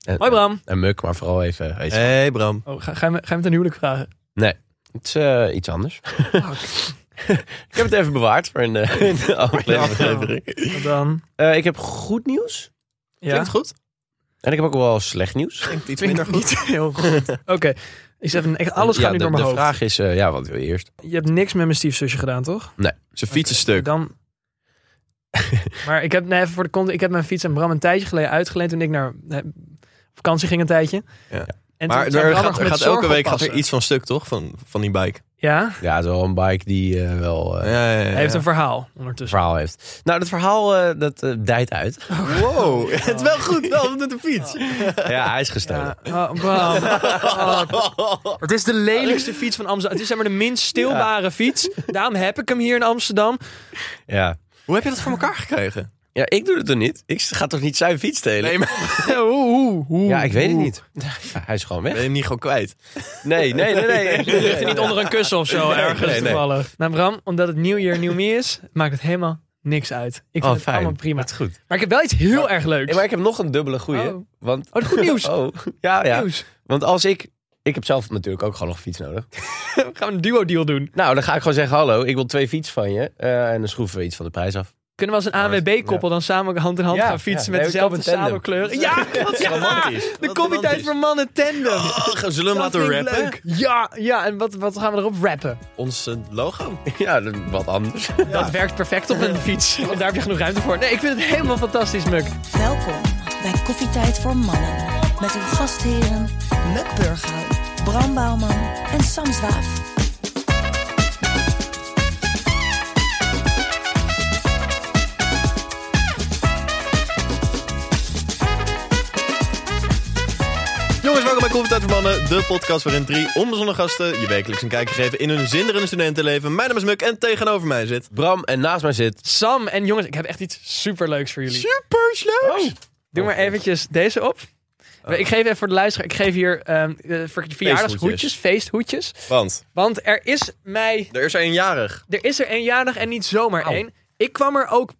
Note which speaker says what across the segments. Speaker 1: En,
Speaker 2: Hoi Bram.
Speaker 1: En Muk, maar vooral even. hey Sam.
Speaker 3: hey Bram.
Speaker 2: Oh, ga, ga, je me, ga je me ten huwelijk vragen?
Speaker 1: Het is eh, iets anders. ik heb het even bewaard voor een eh, een aflevering.
Speaker 2: Wat dan?
Speaker 1: Eh, ik heb goed nieuws.
Speaker 2: Ja. Klinkt goed.
Speaker 1: En ik heb ook wel slecht nieuws.
Speaker 2: Klinkt iets minder goed. heel goed. Oké. Ik zeg even, echt, alles
Speaker 1: Ja,
Speaker 2: gaat nu
Speaker 1: de,
Speaker 2: door mijn
Speaker 1: de
Speaker 2: hoofd.
Speaker 1: vraag is, eh, ja, wat wil je eerst?
Speaker 2: Je hebt niks met mijn stiefzusje gedaan, toch?
Speaker 1: Nee, zijn fietsenstuk.
Speaker 2: Dan... maar ik heb, nee, even voor de context, ik heb mijn fiets aan Bram een tijdje geleden uitgeleend toen ik naar eh, vakantie ging een tijdje.
Speaker 3: Ja.
Speaker 2: En
Speaker 3: Maar
Speaker 2: toen zei
Speaker 3: er
Speaker 2: Bram
Speaker 3: gaat,
Speaker 2: nog
Speaker 3: er
Speaker 2: met
Speaker 3: gaat
Speaker 2: zorg
Speaker 3: elke week gaat er
Speaker 2: oppassen.
Speaker 3: iets van stuk, toch? Van, van die bike.
Speaker 2: Ja?
Speaker 1: Ja, het is wel een bike die eh, wel eh,
Speaker 3: Ja, ja, ja.
Speaker 2: Hij heeft een
Speaker 3: ja.
Speaker 2: verhaal ondertussen.
Speaker 1: verhaal heeft. Nou, dat verhaal, eh, dat eh, dijt uit.
Speaker 3: Wow, het is wel goed, wel met de fiets.
Speaker 1: ja, hij is gestolen.
Speaker 2: Ja. Oh, Bram. Oh, Het is de lelijkste fiets van Amsterdam. Het is zeg maar de minst stilbare fiets. Daarom heb ik hem hier in Amsterdam.
Speaker 1: Ja.
Speaker 3: Hoe heb je dat voor elkaar gekregen?
Speaker 1: ja, ik doe het toch niet? Ik ga toch niet zijn fiets stelen?
Speaker 3: Nee, maar
Speaker 1: ja, ik weet het niet. Ja, hij is gewoon weg.
Speaker 3: ben je hem niet gewoon kwijt?
Speaker 1: Nee, nee, nee, nee.
Speaker 2: Ligt er niet onder een kussen of zo ergens
Speaker 1: nee, nee.
Speaker 2: toevallig. Nou Bram, omdat het nieuw jaar nieuw me is, maakt het helemaal niks uit. Ik vind
Speaker 1: Oh,
Speaker 2: het
Speaker 1: fijn.
Speaker 2: allemaal prima.
Speaker 1: Het is goed.
Speaker 2: Maar ik heb wel iets heel erg leuks.
Speaker 1: Hey, maar ik heb nog een dubbele goeie.
Speaker 2: Oh.
Speaker 1: Want,
Speaker 2: Oh, goed nieuws.
Speaker 1: Oh, ja, ja.
Speaker 2: Nieuws.
Speaker 1: Want als ik... Ik heb zelf natuurlijk ook gewoon nog een fiets nodig.
Speaker 2: We gaan een duo deal doen.
Speaker 1: Nou, dan ga ik gewoon zeggen, hallo, ik wil twee fietsen van je. eh, en dan schroeven we iets van de prijs af.
Speaker 2: Kunnen we als een AWB-koppel dan samen hand in hand
Speaker 1: Ja,
Speaker 2: gaan fietsen
Speaker 1: ja. Nee,
Speaker 2: met
Speaker 1: we
Speaker 2: dezelfde
Speaker 1: kopen tandem.
Speaker 2: samenkleur? Ja,
Speaker 1: Dat is romantisch. Oh,
Speaker 2: de koffietijd voor mannen tandem.
Speaker 3: Zullen we hem
Speaker 2: Dat
Speaker 3: laten
Speaker 2: vind ik
Speaker 3: rappen?
Speaker 2: leuk. Ja, ja, en wat, wat gaan we erop rappen?
Speaker 3: Ons eh, logo?
Speaker 1: Ja, dat- wat anders.
Speaker 2: Dat werkt perfect op een fiets. En daar heb je genoeg ruimte voor. Nee, ik vind het helemaal fantastisch, Muk.
Speaker 4: Welkom bij Koffietijd voor Mannen. Met uw gastheren Muk Burghuis, Bram Bouwman en Sam Zwaaf.
Speaker 3: Jongens, welkom bij Koffietijd voor Mannen, de podcast waarin drie onbezonnen gasten je wekelijks een kijkje geven in hun zinderende studentenleven. Mijn naam is Muk en tegenover mij zit...
Speaker 1: Bram, en naast mij zit...
Speaker 2: Sam en jongens, ik heb echt iets superleuks voor jullie.
Speaker 3: Super
Speaker 1: Oh,
Speaker 3: leuk!
Speaker 2: Doe maar eventjes deze op. Ik geef even voor de luisteraar. Ik geef hier ehm eh, ver- verjaardagshoedjes, feesthoedjes.
Speaker 3: Want
Speaker 2: Want er is mij...
Speaker 3: er is er eenjarig.
Speaker 2: Er is er eenjarig en niet zomaar één. Ik kwam er ook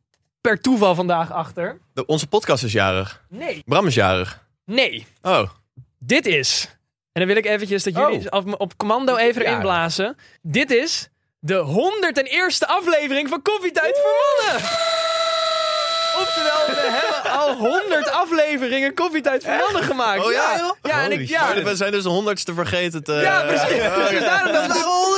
Speaker 2: per toeval vandaag achter.
Speaker 3: De- onze podcast is jarig.
Speaker 2: Nee.
Speaker 3: Bram is jarig.
Speaker 2: Nee.
Speaker 3: Oh,
Speaker 2: Dit is... En dan wil ik eventjes dat jullie
Speaker 1: Oh.
Speaker 2: af- op commando even erin
Speaker 1: Ja.
Speaker 2: blazen. Dit is de 101ste aflevering van Koffietijd voor Mannen. Oftewel, we hebben al 100 afleveringen Koffietijd voor Mannen gemaakt.
Speaker 3: Oh ja,
Speaker 2: ja.
Speaker 3: joh?
Speaker 2: en ik,
Speaker 1: Holy
Speaker 2: ja,
Speaker 3: we zijn dus de honderdste vergeten te...
Speaker 2: Ja, precies. Dus daarom dat we-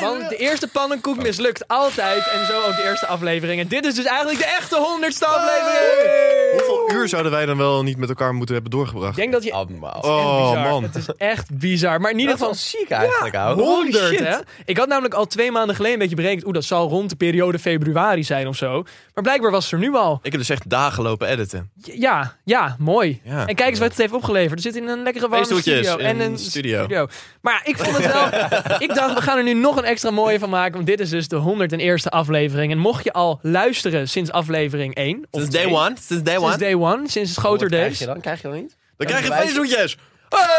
Speaker 2: Want
Speaker 3: honderd
Speaker 2: de eerste pannenkoek mislukt altijd. En zo ook de eerste aflevering. En dit is dus eigenlijk de echte honderdste aflevering.
Speaker 3: Hoeveel uur zouden wij dan wel niet met elkaar moeten hebben doorgebracht?
Speaker 2: Ik denk dat je...
Speaker 1: Allemaal.
Speaker 3: Oh
Speaker 2: bizar.
Speaker 3: man.
Speaker 2: Het is echt bizar. Maar in
Speaker 1: dat
Speaker 2: ieder
Speaker 1: is wel
Speaker 2: geval...
Speaker 1: ziek eigenlijk, ouwe.
Speaker 2: Holy
Speaker 3: 100,
Speaker 2: shit,
Speaker 3: hè?
Speaker 2: hè? Ik had namelijk al twee maanden geleden een beetje berekend... Oeh, dat zal rond de periode februari zijn of zo. Maar blijkbaar was het er nu al.
Speaker 3: Ik heb dus echt dagen lopen editen.
Speaker 2: J- Ja, ja, mooi.
Speaker 3: Ja.
Speaker 2: En kijk eens wat het heeft opgeleverd. Er zit in een lekkere warme
Speaker 3: Feesthoedjes
Speaker 2: studio. En
Speaker 3: in
Speaker 2: een
Speaker 3: studio.
Speaker 2: Maar ja, ik vond het wel... ik dacht, we gaan er nu nog een extra mooie van maken. Want dit is dus de 101ste aflevering. En mocht je al luisteren sinds aflevering 1... Of
Speaker 3: Sinds day
Speaker 2: twee,
Speaker 3: one. Sinds day
Speaker 2: Sinds
Speaker 3: one.
Speaker 2: day one, sinds het
Speaker 1: Oh, Wat
Speaker 2: groter
Speaker 1: krijg
Speaker 2: days.
Speaker 1: je dan? Krijg je dan niet?
Speaker 3: Dan krijg je
Speaker 1: bewijs-
Speaker 3: feesthoedjes.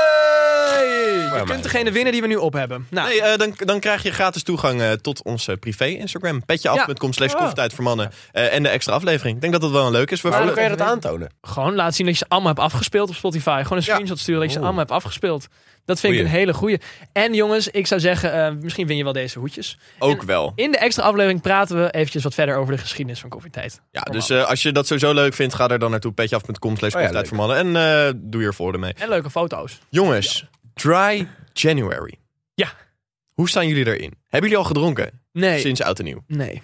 Speaker 2: Hey! Je
Speaker 1: maar-
Speaker 2: kunt degene winnen die we nu op hebben. Nou,
Speaker 3: Nee, eh, dan, dan krijg je gratis toegang eh, tot ons eh, privé Instagram. Petjeaf.com slash
Speaker 2: Ja.
Speaker 3: koffietijd voor mannen. Eh, en de extra aflevering. Ik denk dat dat wel een leuk is. We
Speaker 1: Maar hoe
Speaker 3: vullen-
Speaker 1: kan je dat aantonen?
Speaker 2: Gewoon laat zien dat je ze allemaal hebt afgespeeld op Spotify. Gewoon een
Speaker 3: Ja.
Speaker 2: screenshot sturen dat je ze allemaal hebt afgespeeld. Dat vind ik
Speaker 1: Goeie.
Speaker 2: een hele goeie. En jongens, ik zou zeggen, eh, misschien win je wel deze hoedjes.
Speaker 3: ook wel.
Speaker 2: In de extra aflevering praten we eventjes wat verder over de geschiedenis van Koffietijd.
Speaker 3: Ja, dus eh, als je dat sowieso leuk vindt, ga er dan naartoe. Petjeaf.com slash
Speaker 1: Oh ja,
Speaker 3: koffietijd voor mannen. En eh, doe je voordeel mee.
Speaker 2: En leuke foto's.
Speaker 3: Jongens, dry January.
Speaker 2: Ja.
Speaker 3: Hoe staan jullie erin? Hebben jullie al gedronken
Speaker 2: Nee,
Speaker 3: sinds oud en nieuw?
Speaker 2: nee.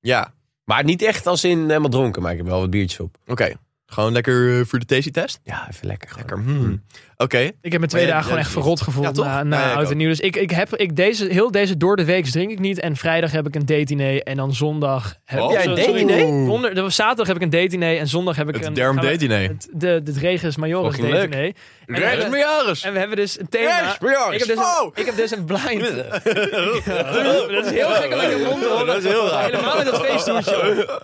Speaker 3: Ja.
Speaker 1: Maar niet echt als in helemaal dronken, maar ik heb wel wat biertjes op.
Speaker 3: Oké. Gewoon lekker eh, voor de test.
Speaker 1: Ja, even lekker. gewoon.
Speaker 3: Lekker. hmm. Oké.
Speaker 2: Ik heb me twee
Speaker 3: Maar jij-
Speaker 2: dagen gewoon
Speaker 3: jij
Speaker 2: echt
Speaker 3: doet
Speaker 2: verrot
Speaker 3: Ja,
Speaker 2: gevoeld
Speaker 3: toch?
Speaker 2: na,
Speaker 3: Ja,
Speaker 2: na
Speaker 3: ja, ik
Speaker 2: oud en
Speaker 3: ook.
Speaker 2: nieuw. Dus ik, ik heb ik deze, heel deze door de week drink ik niet. En vrijdag heb ik een date diner. En dan zondag heb
Speaker 3: Oh.
Speaker 2: ik...
Speaker 3: Jij
Speaker 1: een
Speaker 2: sorry,
Speaker 1: date diner?
Speaker 2: Oeh. Donder, de- zaterdag heb ik een date diner. En zondag heb ik een...
Speaker 3: Het derm
Speaker 2: gaan we-
Speaker 3: date diner.
Speaker 2: Het, de, de, het Regens Majoris
Speaker 1: Fucking
Speaker 2: date
Speaker 1: leuk.
Speaker 2: diner. En, we hebben- en we hebben dus een thema. Ik heb, dus een,
Speaker 3: Oh!
Speaker 2: ik heb dus een blind. dat is heel gek om in je mond te horen.
Speaker 3: Dat is heel raar.
Speaker 2: Helemaal in dat feestdoetje.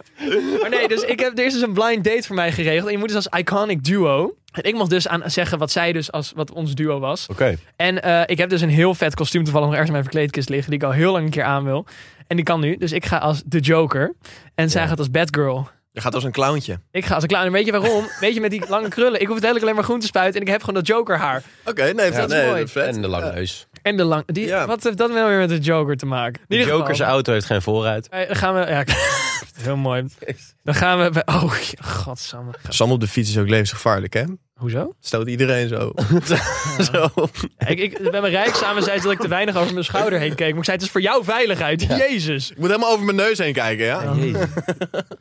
Speaker 2: Maar nee, dus ik heb, er is dus een blind date voor mij geregeld. En je moet dus als iconic duo. En ik mocht dus aan zeggen wat zij dus als wat ons duo was.
Speaker 1: Oké.
Speaker 2: En eh, ik heb dus een heel vet kostuum toevallig nog ergens in mijn verkleedkist liggen. Die ik al heel lang een keer aan wil. En die kan nu. Dus ik ga als de Joker. En zij gaat als Batgirl.
Speaker 3: Je gaat als een clowntje.
Speaker 2: Ik ga als een clown. En weet je waarom? Weet je, met die lange krullen. Ik hoef het eigenlijk alleen maar groen te spuiten. En ik heb gewoon dat Joker haar.
Speaker 3: Oké, nee, vet,
Speaker 2: is
Speaker 3: nee,
Speaker 2: mooi.
Speaker 3: vet. Eh,
Speaker 1: En de lange neus.
Speaker 2: En de lang... Die,
Speaker 3: Ja.
Speaker 2: Wat heeft dat nou weer met de Joker te maken? In
Speaker 1: De
Speaker 2: ieder
Speaker 1: Joker's
Speaker 2: geval.
Speaker 1: auto heeft geen voorruit.
Speaker 2: Hey, Eh, dan gaan we. Ja, dat is heel mooi. Dan gaan we. Bij, oh, je- godsamme.
Speaker 3: Sam op de fiets is ook levensgevaarlijk, hè?
Speaker 2: Hoezo?
Speaker 3: Stoot iedereen zo. zo.
Speaker 2: Ja, ik, ik, bij mijn rijexamen zei ze dat ik te weinig over mijn schouder heen keek. Maar ik zei: Het is voor jouw veiligheid. Jezus.
Speaker 3: Ik moet helemaal over mijn neus heen kijken, ja?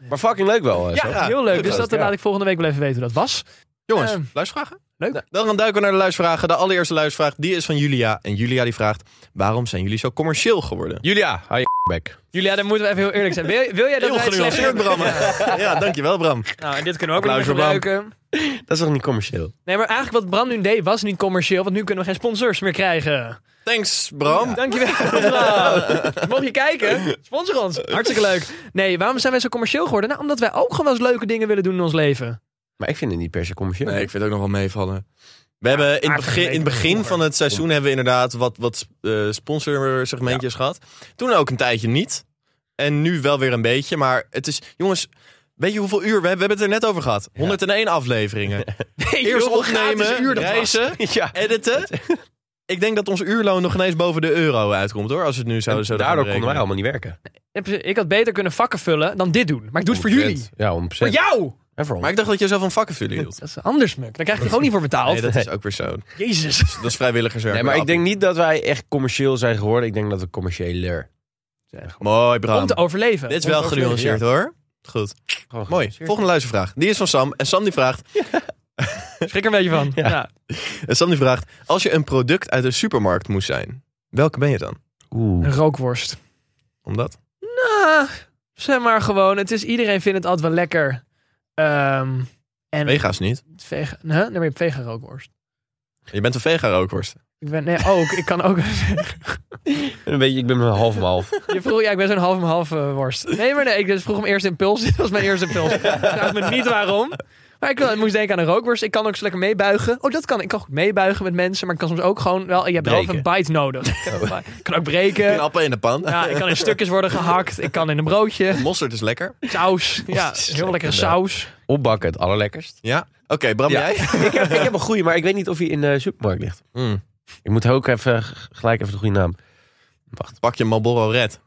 Speaker 1: Maar fucking leuk wel. eh,
Speaker 2: Ja,
Speaker 1: zo.
Speaker 2: heel leuk. Dus
Speaker 1: Ja.
Speaker 2: dat laat ik volgende week wel even weten hoe dat was.
Speaker 3: Jongens,
Speaker 2: Ehm,
Speaker 3: luistervragen?
Speaker 2: leuk.
Speaker 3: Nou, Dan gaan duiken we naar de luistervragen. De allereerste luistervraag, die is van Julia. En Julia die vraagt, waarom zijn jullie zo commercieel geworden?
Speaker 1: Julia, hou je bek.
Speaker 2: Julia, dan moeten we even heel eerlijk zijn. Wil, wil jij dat
Speaker 3: Heel
Speaker 2: wij het slecht
Speaker 3: genuanceerd,
Speaker 2: hebben?
Speaker 3: Bram. Ja. dankjewel, Bram.
Speaker 2: Nou, en dit kunnen we ook nog
Speaker 3: Applaus voor Bram.
Speaker 2: gebruiken.
Speaker 1: Dat is toch niet commercieel?
Speaker 2: Nee, maar eigenlijk wat Bram nu deed was niet commercieel. Want nu kunnen we geen sponsors meer krijgen.
Speaker 3: Thanks, Bram.
Speaker 2: Dankjewel. Bram. Mocht je kijken, sponsor ons.
Speaker 3: Eh,
Speaker 2: Hartstikke leuk. Nee, waarom zijn wij zo commercieel geworden? Nou, omdat wij ook gewoon wel eens leuke dingen willen doen in ons leven.
Speaker 1: Maar ik vind het niet per se commercieel.
Speaker 3: Nee, ik vind het ook nog wel meevallen. We hebben in het begin, in het begin van het seizoen hebben we inderdaad wat, wat eh, sponsorsegmentjes gehad. Toen ook een tijdje niet. En nu wel weer een beetje. Maar het is, jongens, weet je hoeveel uur? We, hebben- we hebben het er net over gehad. 101 afleveringen. Eerst opnemen, reizen,
Speaker 1: Ja.
Speaker 3: editen. Ik denk dat ons uurloon nog ineens boven de euro uitkomt hoor. Als het nu zo
Speaker 1: En
Speaker 3: zo
Speaker 1: daardoor konden wij allemaal niet werken.
Speaker 2: Ik heb- Ik had beter kunnen vakken vullen dan dit doen. Maar ik doe het voor jullie.
Speaker 1: Ja, 100%.
Speaker 2: Voor jou!
Speaker 1: En voor ons.
Speaker 3: Maar ik dacht dat je zelf een vakkenvullen hield.
Speaker 2: Dat is anders, Muk. Daar krijg je er gewoon niet voor betaald.
Speaker 3: Nee, dat is ook weer zo.
Speaker 2: Jezus.
Speaker 3: Dat is vrijwilligerswerk.
Speaker 1: Nee, maar ik denk niet dat wij echt commercieel zijn geworden. Ik denk dat we commerciëler.
Speaker 3: Mooi, Bram.
Speaker 2: Om te overleven.
Speaker 3: Dit is wel
Speaker 1: Om te overleven,
Speaker 3: genuanceerd hoor. Goed.
Speaker 1: Gewoon
Speaker 3: Mooi.
Speaker 1: genuanceerd.
Speaker 3: Volgende luistervraag. Die is van Sam. En Sam die vraagt,
Speaker 2: Schrik er een beetje van. Ja.
Speaker 3: en Sam die vraagt als je een product uit een supermarkt moest zijn, welke ben je dan?
Speaker 1: Oeh.
Speaker 2: Een rookworst.
Speaker 3: Omdat?
Speaker 2: Nou, zeg maar gewoon. Het is, iedereen vindt het altijd wel lekker. Ehm en
Speaker 3: Vega's niet.
Speaker 2: Vega. Huh? Nee, maar je hebt vegan rookworst.
Speaker 3: Je bent een vega rookworst.
Speaker 2: Ik ben, nee, ook. Ik kan ook.
Speaker 1: Een beetje, ik ben een half om half.
Speaker 2: Je vroeg, ja, ik ben zo'n half om half eh, worst. Nee, maar nee, ik dus vroeg hem eerst impuls. Dit was mijn eerste impuls. Ik vraag me niet waarom. Maar ik, wel- ik moest denken aan een rookworst. Ik kan ook zo lekker meebuigen. Oh, dat kan. Ik kan goed meebuigen met mensen. Maar ik kan soms ook gewoon wel... Je hebt wel even een bite nodig. Ik heb een bite. Ik kan ook
Speaker 3: Een
Speaker 2: breken.
Speaker 3: appel in de pan.
Speaker 2: Ja, ik kan in stukjes worden gehakt. Ik kan in een broodje.
Speaker 3: Mosterd is lekker.
Speaker 2: Saus. Ja, heel lekkere saus.
Speaker 1: Opbakken, het allerlekkerst.
Speaker 3: Ja. Oké, Bram,
Speaker 1: Ja.
Speaker 3: jij?
Speaker 1: ik, heb, ik heb een goede, maar ik weet niet of hij in de supermarkt ligt.
Speaker 3: Hmm.
Speaker 1: Ik moet ook even, g- gelijk even de goede naam.
Speaker 3: Pak je Marlboro Red.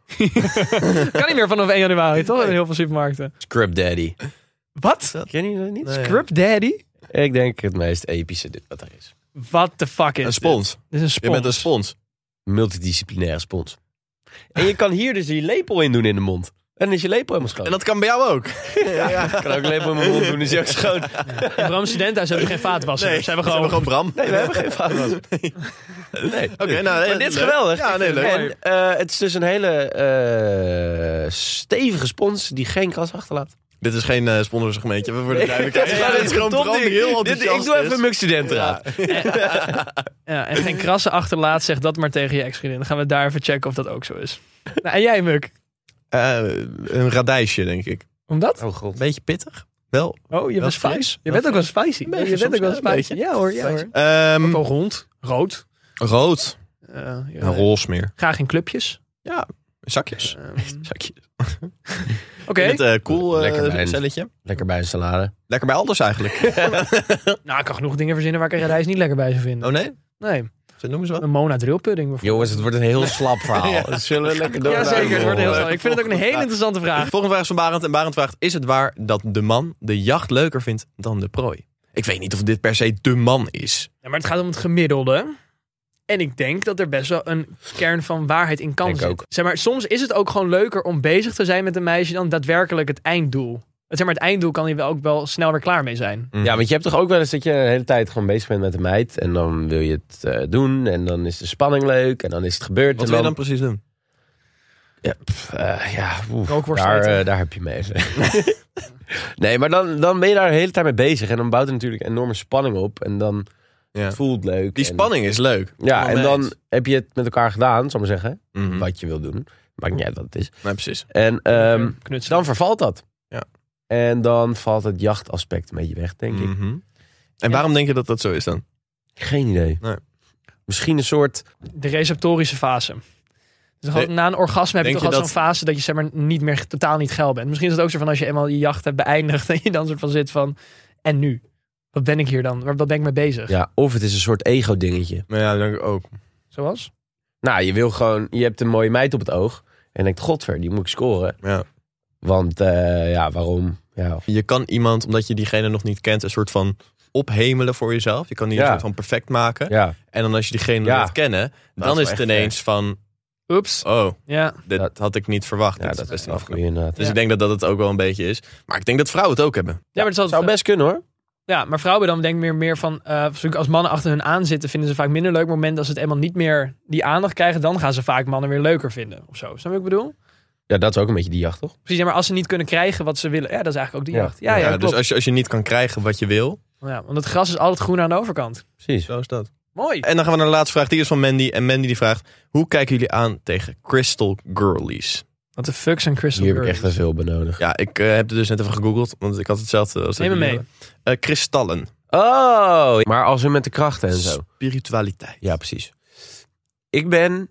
Speaker 2: Kan niet meer vanaf 1 januari, toch? In heel veel supermarkten.
Speaker 1: Scrub Daddy.
Speaker 2: Wat?
Speaker 1: Ken je dat niet?
Speaker 3: eh,
Speaker 2: Scrub Daddy?
Speaker 1: Ik denk het meest epische dit wat er is.
Speaker 2: What the fuck is
Speaker 3: Een
Speaker 2: dit?
Speaker 3: spons.
Speaker 2: Dit is een
Speaker 3: Je
Speaker 2: spons.
Speaker 3: bent een spons.
Speaker 1: Multidisciplinaire spons. En je kan hier dus je lepel in doen in de mond. En dan is je lepel helemaal schoon.
Speaker 3: En dat kan bij jou ook.
Speaker 1: Ik kan ook lepel in mijn mond doen, is hij ook schoon.
Speaker 2: In Bram's studentenhuis hebben ze geen vaatwasser.
Speaker 3: Nee,
Speaker 2: ze hebben
Speaker 3: we
Speaker 2: gewoon...
Speaker 3: gewoon Bram.
Speaker 1: Nee, we hebben geen vaatwasser. Nee.
Speaker 3: Oké, nou, eh,
Speaker 1: Maar dit is
Speaker 3: leuk.
Speaker 1: geweldig.
Speaker 3: Ja, nee, leuk.
Speaker 1: En eh, het is dus een hele eh, stevige spons die geen kras achterlaat.
Speaker 3: Dit is geen eh sponsorsegmentje. We worden duidelijkheid.
Speaker 1: Ja,
Speaker 3: dit is gewoon
Speaker 1: top
Speaker 3: Bram die
Speaker 1: ding.
Speaker 3: heel
Speaker 1: Dit-
Speaker 3: enthousiast
Speaker 1: Ik doe
Speaker 3: is.
Speaker 1: even mijn studentenraad.
Speaker 2: Ja, en geen krassen achterlaat, zeg dat maar tegen je ex-vriendin. Dan gaan we daar even checken of dat ook zo is. Nou, en jij, Muk?
Speaker 3: Eh, een radijsje, denk ik.
Speaker 2: Omdat?
Speaker 1: Oh god.
Speaker 3: Beetje pittig. Wel.
Speaker 2: Oh, je
Speaker 3: Wel
Speaker 2: bent spicy.
Speaker 3: fris.
Speaker 2: Je bent ook wel spicy.
Speaker 3: beetje
Speaker 2: je bent
Speaker 3: soms,
Speaker 2: ook wel
Speaker 3: ja,
Speaker 2: spicy.
Speaker 3: een
Speaker 2: Ja hoor, ja hoor.
Speaker 3: Ehm,
Speaker 2: Ook rond, rood.
Speaker 3: rood.
Speaker 2: Eh, ja.
Speaker 3: Een roze meer.
Speaker 2: Graag in clubjes.
Speaker 3: Zakjes.
Speaker 2: Ehm,
Speaker 3: Zakjes.
Speaker 2: Oké,
Speaker 3: Met cool eh,
Speaker 1: Lekker wijn.
Speaker 3: celletje.
Speaker 1: Lekker bij een salade.
Speaker 3: Lekker bij alles eigenlijk.
Speaker 2: nou, ik kan genoeg dingen verzinnen waar ik een radijs niet lekker bij zou vinden.
Speaker 3: Oh nee?
Speaker 2: Nee,
Speaker 3: Ze noemen ze wat?
Speaker 2: een Mona drillpudding bijvoorbeeld.
Speaker 1: Jongens, het wordt een heel slap verhaal. Zullen we lekker door
Speaker 2: Ja,
Speaker 1: naar
Speaker 2: zeker.
Speaker 1: de
Speaker 2: Het wordt heel
Speaker 1: volgende?
Speaker 2: snel. Ik vind het ook een hele interessante vraag.
Speaker 3: Volgende vraag is van Barend. En Barend vraagt, is het waar dat de man de jacht leuker vindt dan de prooi? Ik weet niet of dit per se de man is.
Speaker 2: Ja, maar het gaat om het gemiddelde. En ik denk dat er best wel een kern van waarheid in kan
Speaker 1: Denk
Speaker 2: zitten.
Speaker 1: ook.
Speaker 2: Zeg maar, soms is het ook gewoon leuker om bezig te zijn met een meisje dan daadwerkelijk het einddoel. het, zeg maar, het einddoel kan hij wel ook wel snel weer klaar mee zijn.
Speaker 1: Mm.
Speaker 3: Mhm.
Speaker 1: Ja, want je hebt toch ook wel eens dat je de hele tijd gewoon bezig bent met een meid. En dan wil je het eh, doen. En dan is de spanning leuk. En dan is het gebeurd.
Speaker 3: Wat
Speaker 1: en
Speaker 3: wil je dan precies doen?
Speaker 1: Ja, pff, eh, ja oeh,
Speaker 2: Rookworst
Speaker 1: daar,
Speaker 2: eten.
Speaker 1: eh, daar heb je mee. nee, maar dan, dan ben je daar de hele tijd mee bezig. En dan bouwt het natuurlijk enorme spanning op. En dan
Speaker 3: Ja.
Speaker 1: het voelt het leuk.
Speaker 3: Die
Speaker 1: en-
Speaker 3: spanning is leuk.
Speaker 1: Ja, en
Speaker 3: Moment.
Speaker 1: dan heb je het met elkaar gedaan, zal ik maar zeggen.
Speaker 3: Mhm.
Speaker 1: Wat je wil doen. Maakt niet uit wat het is.
Speaker 3: Nee, precies.
Speaker 1: En ehm,
Speaker 2: Knutselen.
Speaker 1: dan vervalt dat.
Speaker 3: Ja.
Speaker 1: En dan valt het jachtaspect een beetje weg, denk ik.
Speaker 3: Mhm. En waarom denk je dat dat zo is dan?
Speaker 1: Geen idee.
Speaker 3: Nee.
Speaker 1: Misschien een soort...
Speaker 2: De receptorische fase. Dus gewoon
Speaker 3: Nee,
Speaker 2: na een orgasme heb je
Speaker 3: denk
Speaker 2: toch
Speaker 3: je
Speaker 2: al zo'n
Speaker 3: dat-
Speaker 2: fase dat je zeg maar, niet meer, totaal niet geil bent. Misschien is het ook zo van als je eenmaal je jacht hebt beëindigd en je dan soort van zit van, en nu? Wat ben ik hier dan? Waar wat ben ik mee bezig?
Speaker 1: Ja, of het is een soort ego-dingetje.
Speaker 3: Nou ja, dat denk ik ook.
Speaker 2: Zoals?
Speaker 1: Nou, je wil gewoon... Je hebt een mooie meid op het oog. En denkt, godver, die moet ik scoren.
Speaker 3: Ja.
Speaker 1: Want, eh, ja, waarom? Ja,
Speaker 3: Je kan iemand, omdat je diegene nog niet kent, een soort van ophemelen voor jezelf. Je kan die
Speaker 1: Ja.
Speaker 3: een soort van perfect maken.
Speaker 1: ja
Speaker 3: En dan als je diegene
Speaker 1: Ja.
Speaker 3: leert kennen,
Speaker 1: is
Speaker 3: dan
Speaker 1: wel
Speaker 3: is het
Speaker 1: echt eh,
Speaker 3: ineens van...
Speaker 2: Oeps.
Speaker 3: Oh,
Speaker 2: Ja.
Speaker 3: dit
Speaker 1: Dat-
Speaker 3: had ik niet verwacht.
Speaker 1: Ja,
Speaker 3: Dit
Speaker 1: dat is
Speaker 3: best
Speaker 1: wel
Speaker 3: een
Speaker 1: goed
Speaker 3: afknap.
Speaker 1: inderdaad.
Speaker 3: Dus ik denk dat dat het ook wel een beetje is. Maar ik denk dat vrouwen het ook hebben.
Speaker 2: Ja, maar het is altijd-
Speaker 1: Zou best kunnen, hoor.
Speaker 2: Ja, maar vrouwen dan denk ik meer, meer van, eh, als mannen achter hun aan zitten, vinden ze vaak minder leuk. Maar op het moment als ze het eenmaal niet meer die aandacht krijgen, dan gaan ze vaak mannen weer leuker vinden. Of zo. Snap je wat ik bedoel?
Speaker 1: Ja, dat is ook een beetje die jacht, toch?
Speaker 2: Precies, ja, maar als ze niet kunnen krijgen wat ze willen, ja, dat is eigenlijk ook die
Speaker 1: Ja.
Speaker 2: jacht. Ja, ja, klopt.
Speaker 3: dus als je, als je niet kan krijgen wat je wil,
Speaker 2: ja, want het gras is altijd groen aan de overkant.
Speaker 1: Precies.
Speaker 3: zo is dat.
Speaker 2: Mooi.
Speaker 3: En dan gaan we naar de laatste vraag. Die is van Mandy. En Mandy die vraagt, hoe kijken jullie aan tegen crystal girlies?
Speaker 2: Wat de fuck zijn crystal
Speaker 1: Hier heb ik
Speaker 2: girls?
Speaker 1: echt een veel benodigd.
Speaker 3: Ja, ik eh, heb er dus net even gegoogeld, want ik had hetzelfde als dat
Speaker 2: Neem me
Speaker 3: jullie
Speaker 2: mee.
Speaker 3: hadden. Eh, kristallen.
Speaker 1: Oh, maar als we met de krachten en zo.
Speaker 3: Spiritualiteit.
Speaker 1: Ja, precies. Ik ben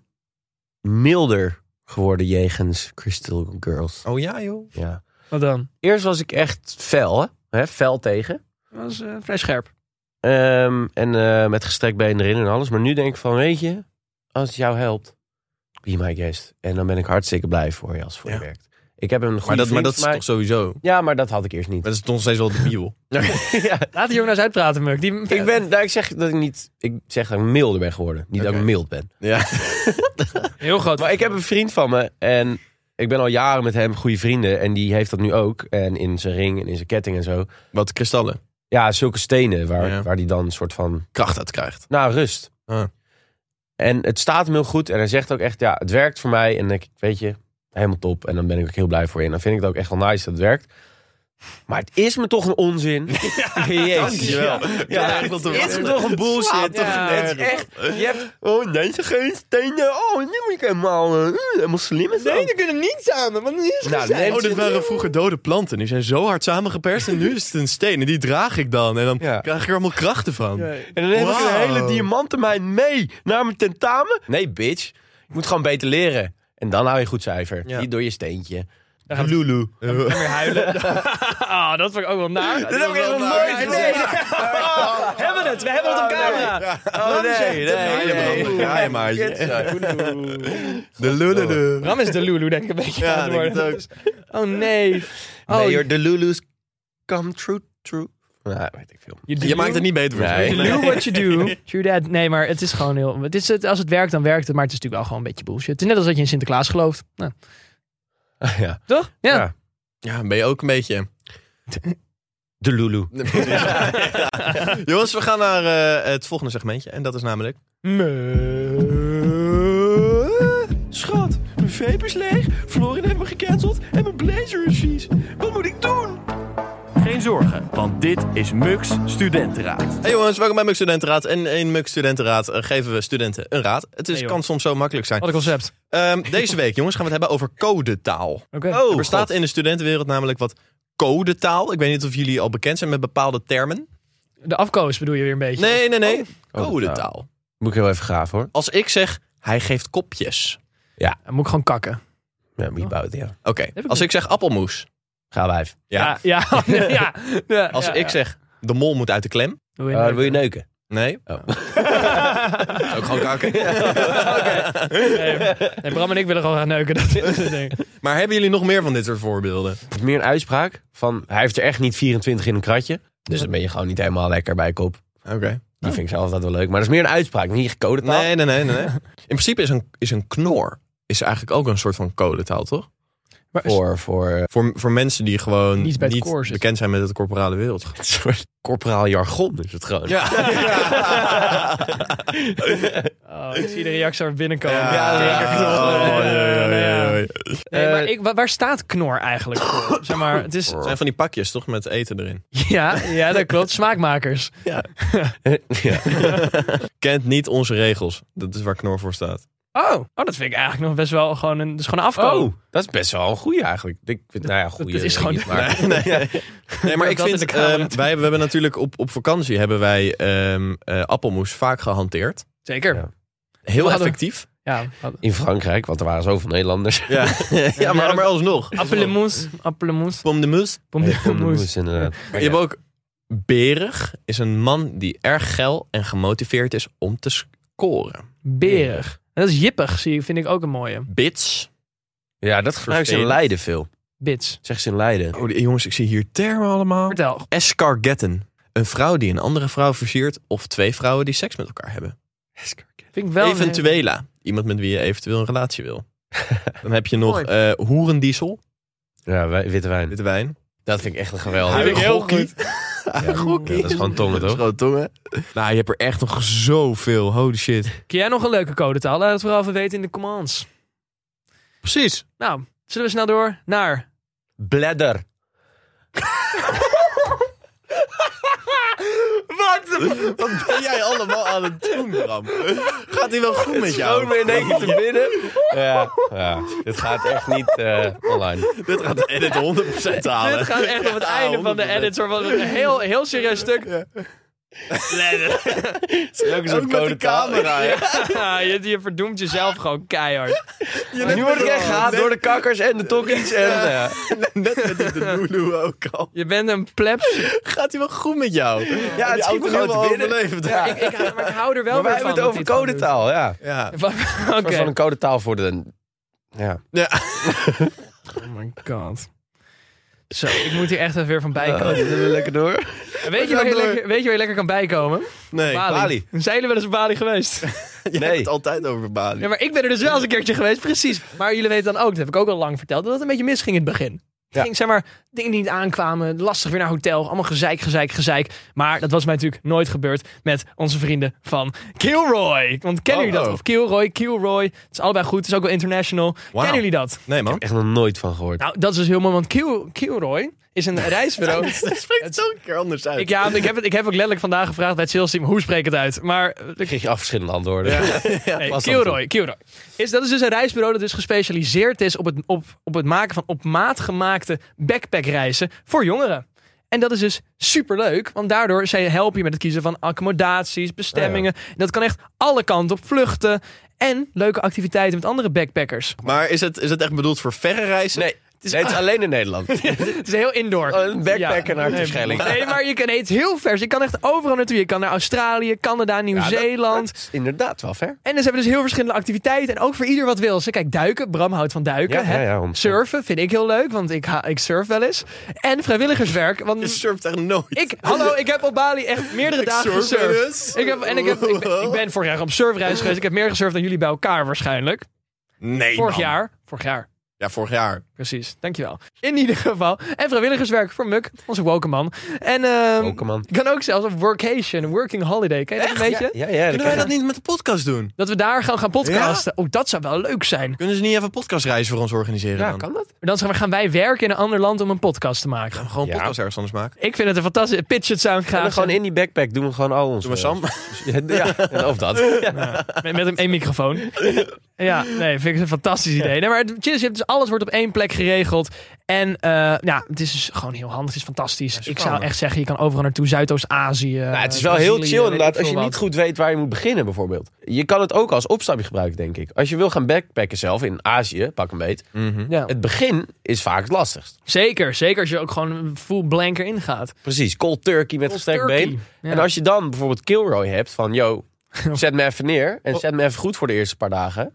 Speaker 1: milder geworden jegens Crystal Girls.
Speaker 3: Oh ja, joh.
Speaker 1: Ja.
Speaker 2: Wat dan?
Speaker 1: Eerst was ik echt fel, hè? hè? Fel tegen.
Speaker 2: Dat is eh, vrij scherp.
Speaker 1: Ehm, en eh, met gestrekt been erin en alles. Maar nu denk ik van, weet je, als het jou helpt, be my guest. En dan ben ik hartstikke blij voor je als het voor je
Speaker 3: Ja.
Speaker 1: werkt. Ik heb een goede
Speaker 3: Maar dat, maar
Speaker 1: vriend
Speaker 3: dat is
Speaker 1: van mij-
Speaker 3: toch sowieso.
Speaker 1: Ja, maar dat had ik eerst niet.
Speaker 3: Dat is toch nog steeds wel de bibel.
Speaker 1: ja.
Speaker 2: Laat die jongen nou eens uitpraten, Muk. Die,
Speaker 1: Ik ben, nou, ik zeg dat ik niet, ik zeg dat ik milder ben geworden. Niet dat ik
Speaker 3: Oké.
Speaker 1: mild ben.
Speaker 3: ja.
Speaker 2: heel groot.
Speaker 1: Maar ik heb een vriend van me en ik ben al jaren met hem goede vrienden. En die heeft dat nu ook. En in zijn ring en in zijn ketting en zo.
Speaker 3: Wat kristallen
Speaker 1: Ja, zulke stenen waar,
Speaker 3: Ja.
Speaker 1: waar die dan een soort van,
Speaker 3: kracht uit krijgt.
Speaker 1: nou, rust.
Speaker 3: Ah.
Speaker 1: En het staat hem heel goed. En hij zegt ook echt, ja, het werkt voor mij. En ik, weet je, helemaal top. En dan ben ik ook heel blij voor je. En dan vind ik het ook echt wel nice dat het werkt. Maar het is me toch een onzin. Ja, Jezus.
Speaker 3: Dankjewel.
Speaker 1: Ja,
Speaker 3: echt wel
Speaker 1: het
Speaker 3: te
Speaker 1: is
Speaker 3: wachten.
Speaker 1: me toch een bullshit.
Speaker 2: toch
Speaker 1: Ja,
Speaker 2: nergens
Speaker 1: het is echt, je hebt, oh nee, ze geen stenen. Oh, nu moet ik helemaal, eh, helemaal slim en zo.
Speaker 2: kunnen niet samen. Want is
Speaker 1: Nou, nee,
Speaker 3: Oh, dit waren vroeger dode planten. Die zijn zo hard samengeperst. En nu is het een steen. En die draag ik dan. En dan
Speaker 1: Ja.
Speaker 3: krijg ik er allemaal krachten van.
Speaker 1: En dan heb ik
Speaker 3: Wauw.
Speaker 1: een hele diamantenmijn mee naar mijn tentamen. Nee, bitch. Je moet gewoon beter leren. En dan hou je een goed cijfer.
Speaker 3: Ja.
Speaker 1: Niet door je steentje.
Speaker 3: Lulu.
Speaker 2: weer huilen. Ah, dat vond ik ook wel naar.
Speaker 1: Dit heb ik echt nog nooit gedaan.
Speaker 2: We hebben het, we hebben het op camera.
Speaker 1: Oh nee,
Speaker 3: Ja, je
Speaker 1: nee,
Speaker 3: man. Ja, je maatje. De Lulu.
Speaker 2: Bram is de Lulu, denk ik, een beetje
Speaker 3: Ja,
Speaker 2: aan het
Speaker 3: denk
Speaker 2: worden.
Speaker 3: het ook.
Speaker 2: Dat is- Oh nee. Oh,
Speaker 1: Nee hoor, de Lulu's come true, true. Nou, weet ik veel.
Speaker 2: do-
Speaker 3: Je maakt het niet beter. voor
Speaker 1: Nee.
Speaker 3: jezelf.
Speaker 2: You do what you do. True that. Nee, maar het is gewoon heel... Het is het, als het werkt, dan werkt het. Maar het is natuurlijk wel gewoon een beetje bullshit. Het is net als dat je in Sinterklaas gelooft. Nou,
Speaker 1: Ja.
Speaker 2: toch? Ja.
Speaker 1: Ja.
Speaker 3: Ah, Ja, ben je ook een beetje.
Speaker 1: De Lulu.
Speaker 3: Jongens, we gaan naar eh, het volgende segmentje. En dat is namelijk...
Speaker 1: Schat, mijn vape is leeg, Florin heeft me gecanceld en mijn blazer is vies. Wat moet ik doen?
Speaker 5: Geen zorgen, want dit is Mux Studentenraad.
Speaker 3: Hey jongens, welkom bij Muk Studentenraad. En in Muk Studentenraad eh, geven we studenten een raad. Het is,
Speaker 2: Hey, joh.
Speaker 3: kan soms zo makkelijk zijn.
Speaker 2: Wat een Oh, concept.
Speaker 3: Ehm, deze week, jongens, gaan we het hebben over codetaal.
Speaker 2: Oké.
Speaker 3: er bestaat in de studentenwereld namelijk wat codetaal. Ik weet niet of jullie al bekend zijn met bepaalde termen.
Speaker 2: De afkoos bedoel je weer een beetje.
Speaker 3: Nee, nee, nee.
Speaker 1: Oh.
Speaker 3: Codetaal.
Speaker 1: Moet ik heel even graven hoor.
Speaker 3: Als ik zeg, hij geeft kopjes.
Speaker 2: Dan moet ik gewoon kakken.
Speaker 1: Ja, moet je buiten, ja.
Speaker 3: Oké,
Speaker 2: ik
Speaker 3: als
Speaker 2: niet.
Speaker 3: ik zeg appelmoes.
Speaker 1: Ga wijf.
Speaker 3: Ja.
Speaker 2: Ja. ja, ja, ja, ja.
Speaker 3: Als
Speaker 2: ja.
Speaker 3: ik zeg, Ah, de mol moet uit de klem.
Speaker 2: Wil
Speaker 1: Oh, dan wil je
Speaker 2: neuken?
Speaker 1: neuken.
Speaker 3: Nee.
Speaker 1: Oh.
Speaker 3: Ook gewoon kakken.
Speaker 2: Nee, nee, Bram en ik willen gewoon gaan neuken. Dat is het ding.
Speaker 3: Maar hebben jullie nog meer van dit soort voorbeelden?
Speaker 1: Het is meer een uitspraak van hij heeft er echt niet 24 in een kratje. Dus dan ben je gewoon niet helemaal lekker bij kop.
Speaker 3: Oké.
Speaker 1: Die vind ik zelf altijd wel leuk. Maar dat is meer een uitspraak, niet gecode taal.
Speaker 3: Nee, nee, nee, nee. nee. In principe is een, is een knor is eigenlijk ook een soort van codetaal, toch?
Speaker 2: Maar is-
Speaker 1: Voor, voor eh,
Speaker 3: Voor, voor mensen die gewoon
Speaker 2: Niet
Speaker 3: niet,
Speaker 2: bij het koor zitten.
Speaker 3: bekend zijn met het corporale wereld.
Speaker 1: een soort corporaal jargon is het gewoon.
Speaker 3: Ja.
Speaker 2: Oh, ik zie de reactie er binnenkomen.
Speaker 3: Ja,
Speaker 2: Ik denk
Speaker 3: ja,
Speaker 2: er knor.
Speaker 3: oh,
Speaker 2: Eh,
Speaker 3: ja, ja,
Speaker 2: nou
Speaker 3: ja, ja.
Speaker 2: Nee, maar
Speaker 1: Eh,
Speaker 2: ik, wa- waar staat knor eigenlijk voor? Zeg maar, het is,
Speaker 3: Het zijn van die pakjes, toch? Met eten erin.
Speaker 2: ja, ja, dat klopt. Smaakmakers.
Speaker 1: ja.
Speaker 3: Kent niet onze regels. Dat is waar Knor voor staat.
Speaker 2: Oh, oh, dat vind ik eigenlijk nog best wel gewoon een, dat is gewoon een afkoop.
Speaker 1: Oh, dat is best wel een goeie eigenlijk. Ik vind, nou ja, goeie.
Speaker 2: dat is
Speaker 1: weet ik
Speaker 2: gewoon-
Speaker 1: niet, maar-
Speaker 3: Nee, maar ik
Speaker 2: Dat is de
Speaker 3: vind...
Speaker 2: camera.
Speaker 3: ehm, wij, we hebben natuurlijk op, op vakantie hebben wij ehm, eh, appelmoes vaak gehanteerd.
Speaker 2: Zeker.
Speaker 1: Ja.
Speaker 3: Heel
Speaker 2: hadden-
Speaker 3: effectief.
Speaker 2: Ja.
Speaker 1: In Frankrijk, want er waren zoveel Nederlanders.
Speaker 3: Ja, ja maar, maar alsnog.
Speaker 2: Appelemoes. Appelemoes.
Speaker 3: Pom de moes.
Speaker 2: Appelemoes.
Speaker 1: Moes, inderdaad.
Speaker 3: Maar je hebt ook... Berig is een man die erg geil en gemotiveerd is om te scoren.
Speaker 2: Berig. En dat is jippig, zie ik, vind ik ook een mooie.
Speaker 3: Bits.
Speaker 1: Ja, dat gebruiken ze in
Speaker 3: Vervelend.
Speaker 1: Leiden veel.
Speaker 2: Bits.
Speaker 1: Zeggen ze in Leiden.
Speaker 3: Oh, die- jongens, ik zie hier termen allemaal.
Speaker 2: Vertel.
Speaker 3: Escargetten. Een vrouw die een andere vrouw versiert of twee vrouwen die seks met elkaar hebben.
Speaker 2: Vind ik wel een-
Speaker 3: Eventuela. Iemand met wie je eventueel een relatie wil. Dan heb je nog
Speaker 2: Mooi.
Speaker 3: eh hoerendiesel,
Speaker 1: Ja, wij- witte wijn.
Speaker 3: witte wijn.
Speaker 1: Dat vind ik echt een geweldig.
Speaker 3: Huig- gokkie.
Speaker 1: Ja,
Speaker 3: Gokkie.
Speaker 1: dat is gewoon tongen,
Speaker 3: Dat is
Speaker 1: toch?
Speaker 3: gewoon tongen. Nou, je hebt er echt nog zoveel. Holy shit.
Speaker 2: Kun jij nog een leuke codetaal? Laat het vooral even weten in de commands.
Speaker 3: Precies.
Speaker 2: Nou, zullen we snel door naar...
Speaker 1: Bladder.
Speaker 3: Wat ben jij allemaal aan het doen, Bram? Gaat hij wel goed met jou?
Speaker 1: in één keer te binnen. Ja, ja, dit gaat echt niet eh, online.
Speaker 3: Dit gaat de edit 100% halen.
Speaker 2: Dit gaat echt op het
Speaker 3: Ja,
Speaker 2: einde van de
Speaker 3: 100%.
Speaker 2: edit. Zo van een heel, heel serieus stuk.
Speaker 1: Ook een soort
Speaker 3: Ook met de
Speaker 1: code taal.
Speaker 3: camera. hè?
Speaker 2: Ja, Ah, je, je verdoemt jezelf gewoon keihard.
Speaker 1: Nu word ik echt gehaald door de kakkers en de tokkies. En, ja.
Speaker 3: Net met die de Lulu ook al.
Speaker 2: Je bent een plebs.
Speaker 3: Gaat hij wel goed met jou?
Speaker 1: Ja, het
Speaker 3: Die
Speaker 1: schiet me
Speaker 3: auto
Speaker 1: gewoon
Speaker 3: helemaal
Speaker 1: te binnen.
Speaker 3: overleefd.
Speaker 1: Ja.
Speaker 2: Ik, ik, maar ik hou er wel
Speaker 1: Maar wij
Speaker 2: weer
Speaker 1: hebben
Speaker 2: van.
Speaker 1: het over codetaal, ja.
Speaker 3: Ja.
Speaker 2: Oké.
Speaker 1: Een soort van een codetaal voor de... Ja.
Speaker 3: ja.
Speaker 2: Oh my god. Zo, ik moet hier echt even weer van bijkomen.
Speaker 1: Zullen we lekker door?
Speaker 2: weet, je waar je
Speaker 3: door.
Speaker 2: lekker, weet je waar je lekker kan bijkomen?
Speaker 3: Nee,
Speaker 2: Bali.
Speaker 1: Bali.
Speaker 2: Zijn jullie wel eens op Bali geweest?
Speaker 3: Je
Speaker 1: Nee.
Speaker 3: hebt het altijd over Bali.
Speaker 2: Ja, maar ik ben er dus wel eens een keertje geweest, precies. Maar jullie weten dan ook, dat heb ik ook al lang verteld, dat het een beetje misging in het begin. Het
Speaker 1: Ja.
Speaker 2: ging, zeg maar, dingen die niet aankwamen, lastig weer naar hotel, allemaal gezeik, gezeik, gezeik. Maar dat was mij natuurlijk nooit gebeurd met onze vrienden van Kilroy. Want kennen
Speaker 3: Oh,
Speaker 2: jullie dat?
Speaker 3: oh.
Speaker 2: Of Kilroy, Kilroy, het is allebei goed, het is ook wel international.
Speaker 3: Wauw.
Speaker 2: Kennen jullie dat?
Speaker 3: Nee, man.
Speaker 1: Echt nog nooit van gehoord.
Speaker 2: Nou, dat is dus heel mooi, want Kil- Kilroy is een reisbureau.
Speaker 3: Het spreekt zo een keer anders uit.
Speaker 2: Ik, ja, ik, heb het, ik heb ook letterlijk vandaag gevraagd bij het sales team, hoe spreek ik het uit? Maar eh,
Speaker 1: Ik kreeg je af verschillende antwoorden.
Speaker 2: Nee,
Speaker 1: Pas dan
Speaker 2: Kilroy, Kilroy. Is, dat is dus een reisbureau dat dus gespecialiseerd is op het, op, op het maken van op maat gemaakte backpackreizen voor jongeren. En dat is dus superleuk, want daardoor zij helpen je met het kiezen van accommodaties,
Speaker 1: Oh,
Speaker 2: bestemmingen. Dat kan echt alle kanten op vluchten en leuke activiteiten met andere backpackers.
Speaker 3: Maar is het, is het echt bedoeld voor verre reizen?
Speaker 1: Nee, het is, nee, het is alleen in Nederland.
Speaker 2: Het is heel indoor.
Speaker 1: Oh, een backpacker
Speaker 2: Ja.
Speaker 1: naar
Speaker 2: Nee,
Speaker 1: Terschelling.
Speaker 2: Nee, maar je kan nee, het is heel vers. Je kan echt overal naartoe. Je kan naar Australië, Canada, Nieuw-Zeeland.
Speaker 1: Dat is inderdaad wel ver.
Speaker 2: En dus hebben we dus heel verschillende activiteiten. En ook voor ieder wat wil. Ze kijk, duiken. Bram houdt van duiken.
Speaker 1: Ja,
Speaker 2: hè?
Speaker 1: ja, ja, honderd procent.
Speaker 2: Surfen vind ik heel leuk, want ik, ha- ik surf wel eens. En vrijwilligerswerk.
Speaker 3: Je
Speaker 2: Want
Speaker 3: surft echt nooit.
Speaker 2: ik, hallo, ik heb op Bali echt meerdere dagen
Speaker 3: surf wel
Speaker 2: gesurfd.
Speaker 3: eens.
Speaker 2: Ik, heb, en ik, heb, ik, ben, ik ben vorig jaar op surfreis geweest. Ik heb meer gesurfd dan jullie bij elkaar waarschijnlijk.
Speaker 3: Nee,
Speaker 2: Vorig
Speaker 3: man.
Speaker 2: jaar. Vorig jaar.
Speaker 3: Ja, vorig jaar.
Speaker 2: Precies, dankjewel. In ieder geval. En vrijwilligerswerk voor Muk, onze woke man. En ehm,
Speaker 1: Wokeman.
Speaker 2: je kan ook zelfs een workation, een working holiday. Ken je dat een beetje?
Speaker 1: Ja, ja.
Speaker 3: Kunnen wij dat niet met de podcast doen?
Speaker 2: Dat we daar gewoon gaan podcasten. Oh, dat zou wel leuk zijn.
Speaker 3: Kunnen ze niet even een podcastreis voor ons organiseren
Speaker 1: Ja,
Speaker 3: dan?
Speaker 1: kan dat?
Speaker 2: Maar Dan zeg maar, gaan wij werken in een ander land om een podcast te maken.
Speaker 3: Gaan we gewoon een
Speaker 1: Ja.
Speaker 3: podcast ergens anders maken?
Speaker 2: Ik vind het een fantastische pitch het sound
Speaker 1: En
Speaker 2: graag.
Speaker 1: dan gewoon in die backpack doen we gewoon al ons.
Speaker 3: Doe maar Sam.
Speaker 1: Ja, en of dat. Ja.
Speaker 2: Met, met een één microfoon. Ja, nee, vind ik een fantastisch idee. Nee, maar het chill is, je hebt dus alles wordt op één plek geregeld. En eh, ja, het is dus gewoon heel handig. Het is fantastisch. ik zou
Speaker 3: spannend.
Speaker 2: echt zeggen, je kan overal naartoe. Zuidoost-Azië. eh,
Speaker 1: Nou, het is wel heel chill inderdaad als je niet
Speaker 2: goed.
Speaker 1: goed weet waar je moet beginnen bijvoorbeeld. Je kan het ook als opstapje gebruiken, denk ik. Als je wil gaan backpacken zelf in Azië, pak een beet.
Speaker 3: Mhm.
Speaker 2: Ja.
Speaker 1: Het begin is vaak het lastigst.
Speaker 2: Zeker, zeker als je ook gewoon full blank erin gaat.
Speaker 1: Precies, cold turkey met gestrekt
Speaker 2: turkey,
Speaker 1: been.
Speaker 2: ja.
Speaker 1: En als je dan
Speaker 2: Oh.
Speaker 1: bijvoorbeeld Kilroy hebt van, yo, zet me even neer en zet me even goed voor de eerste paar dagen.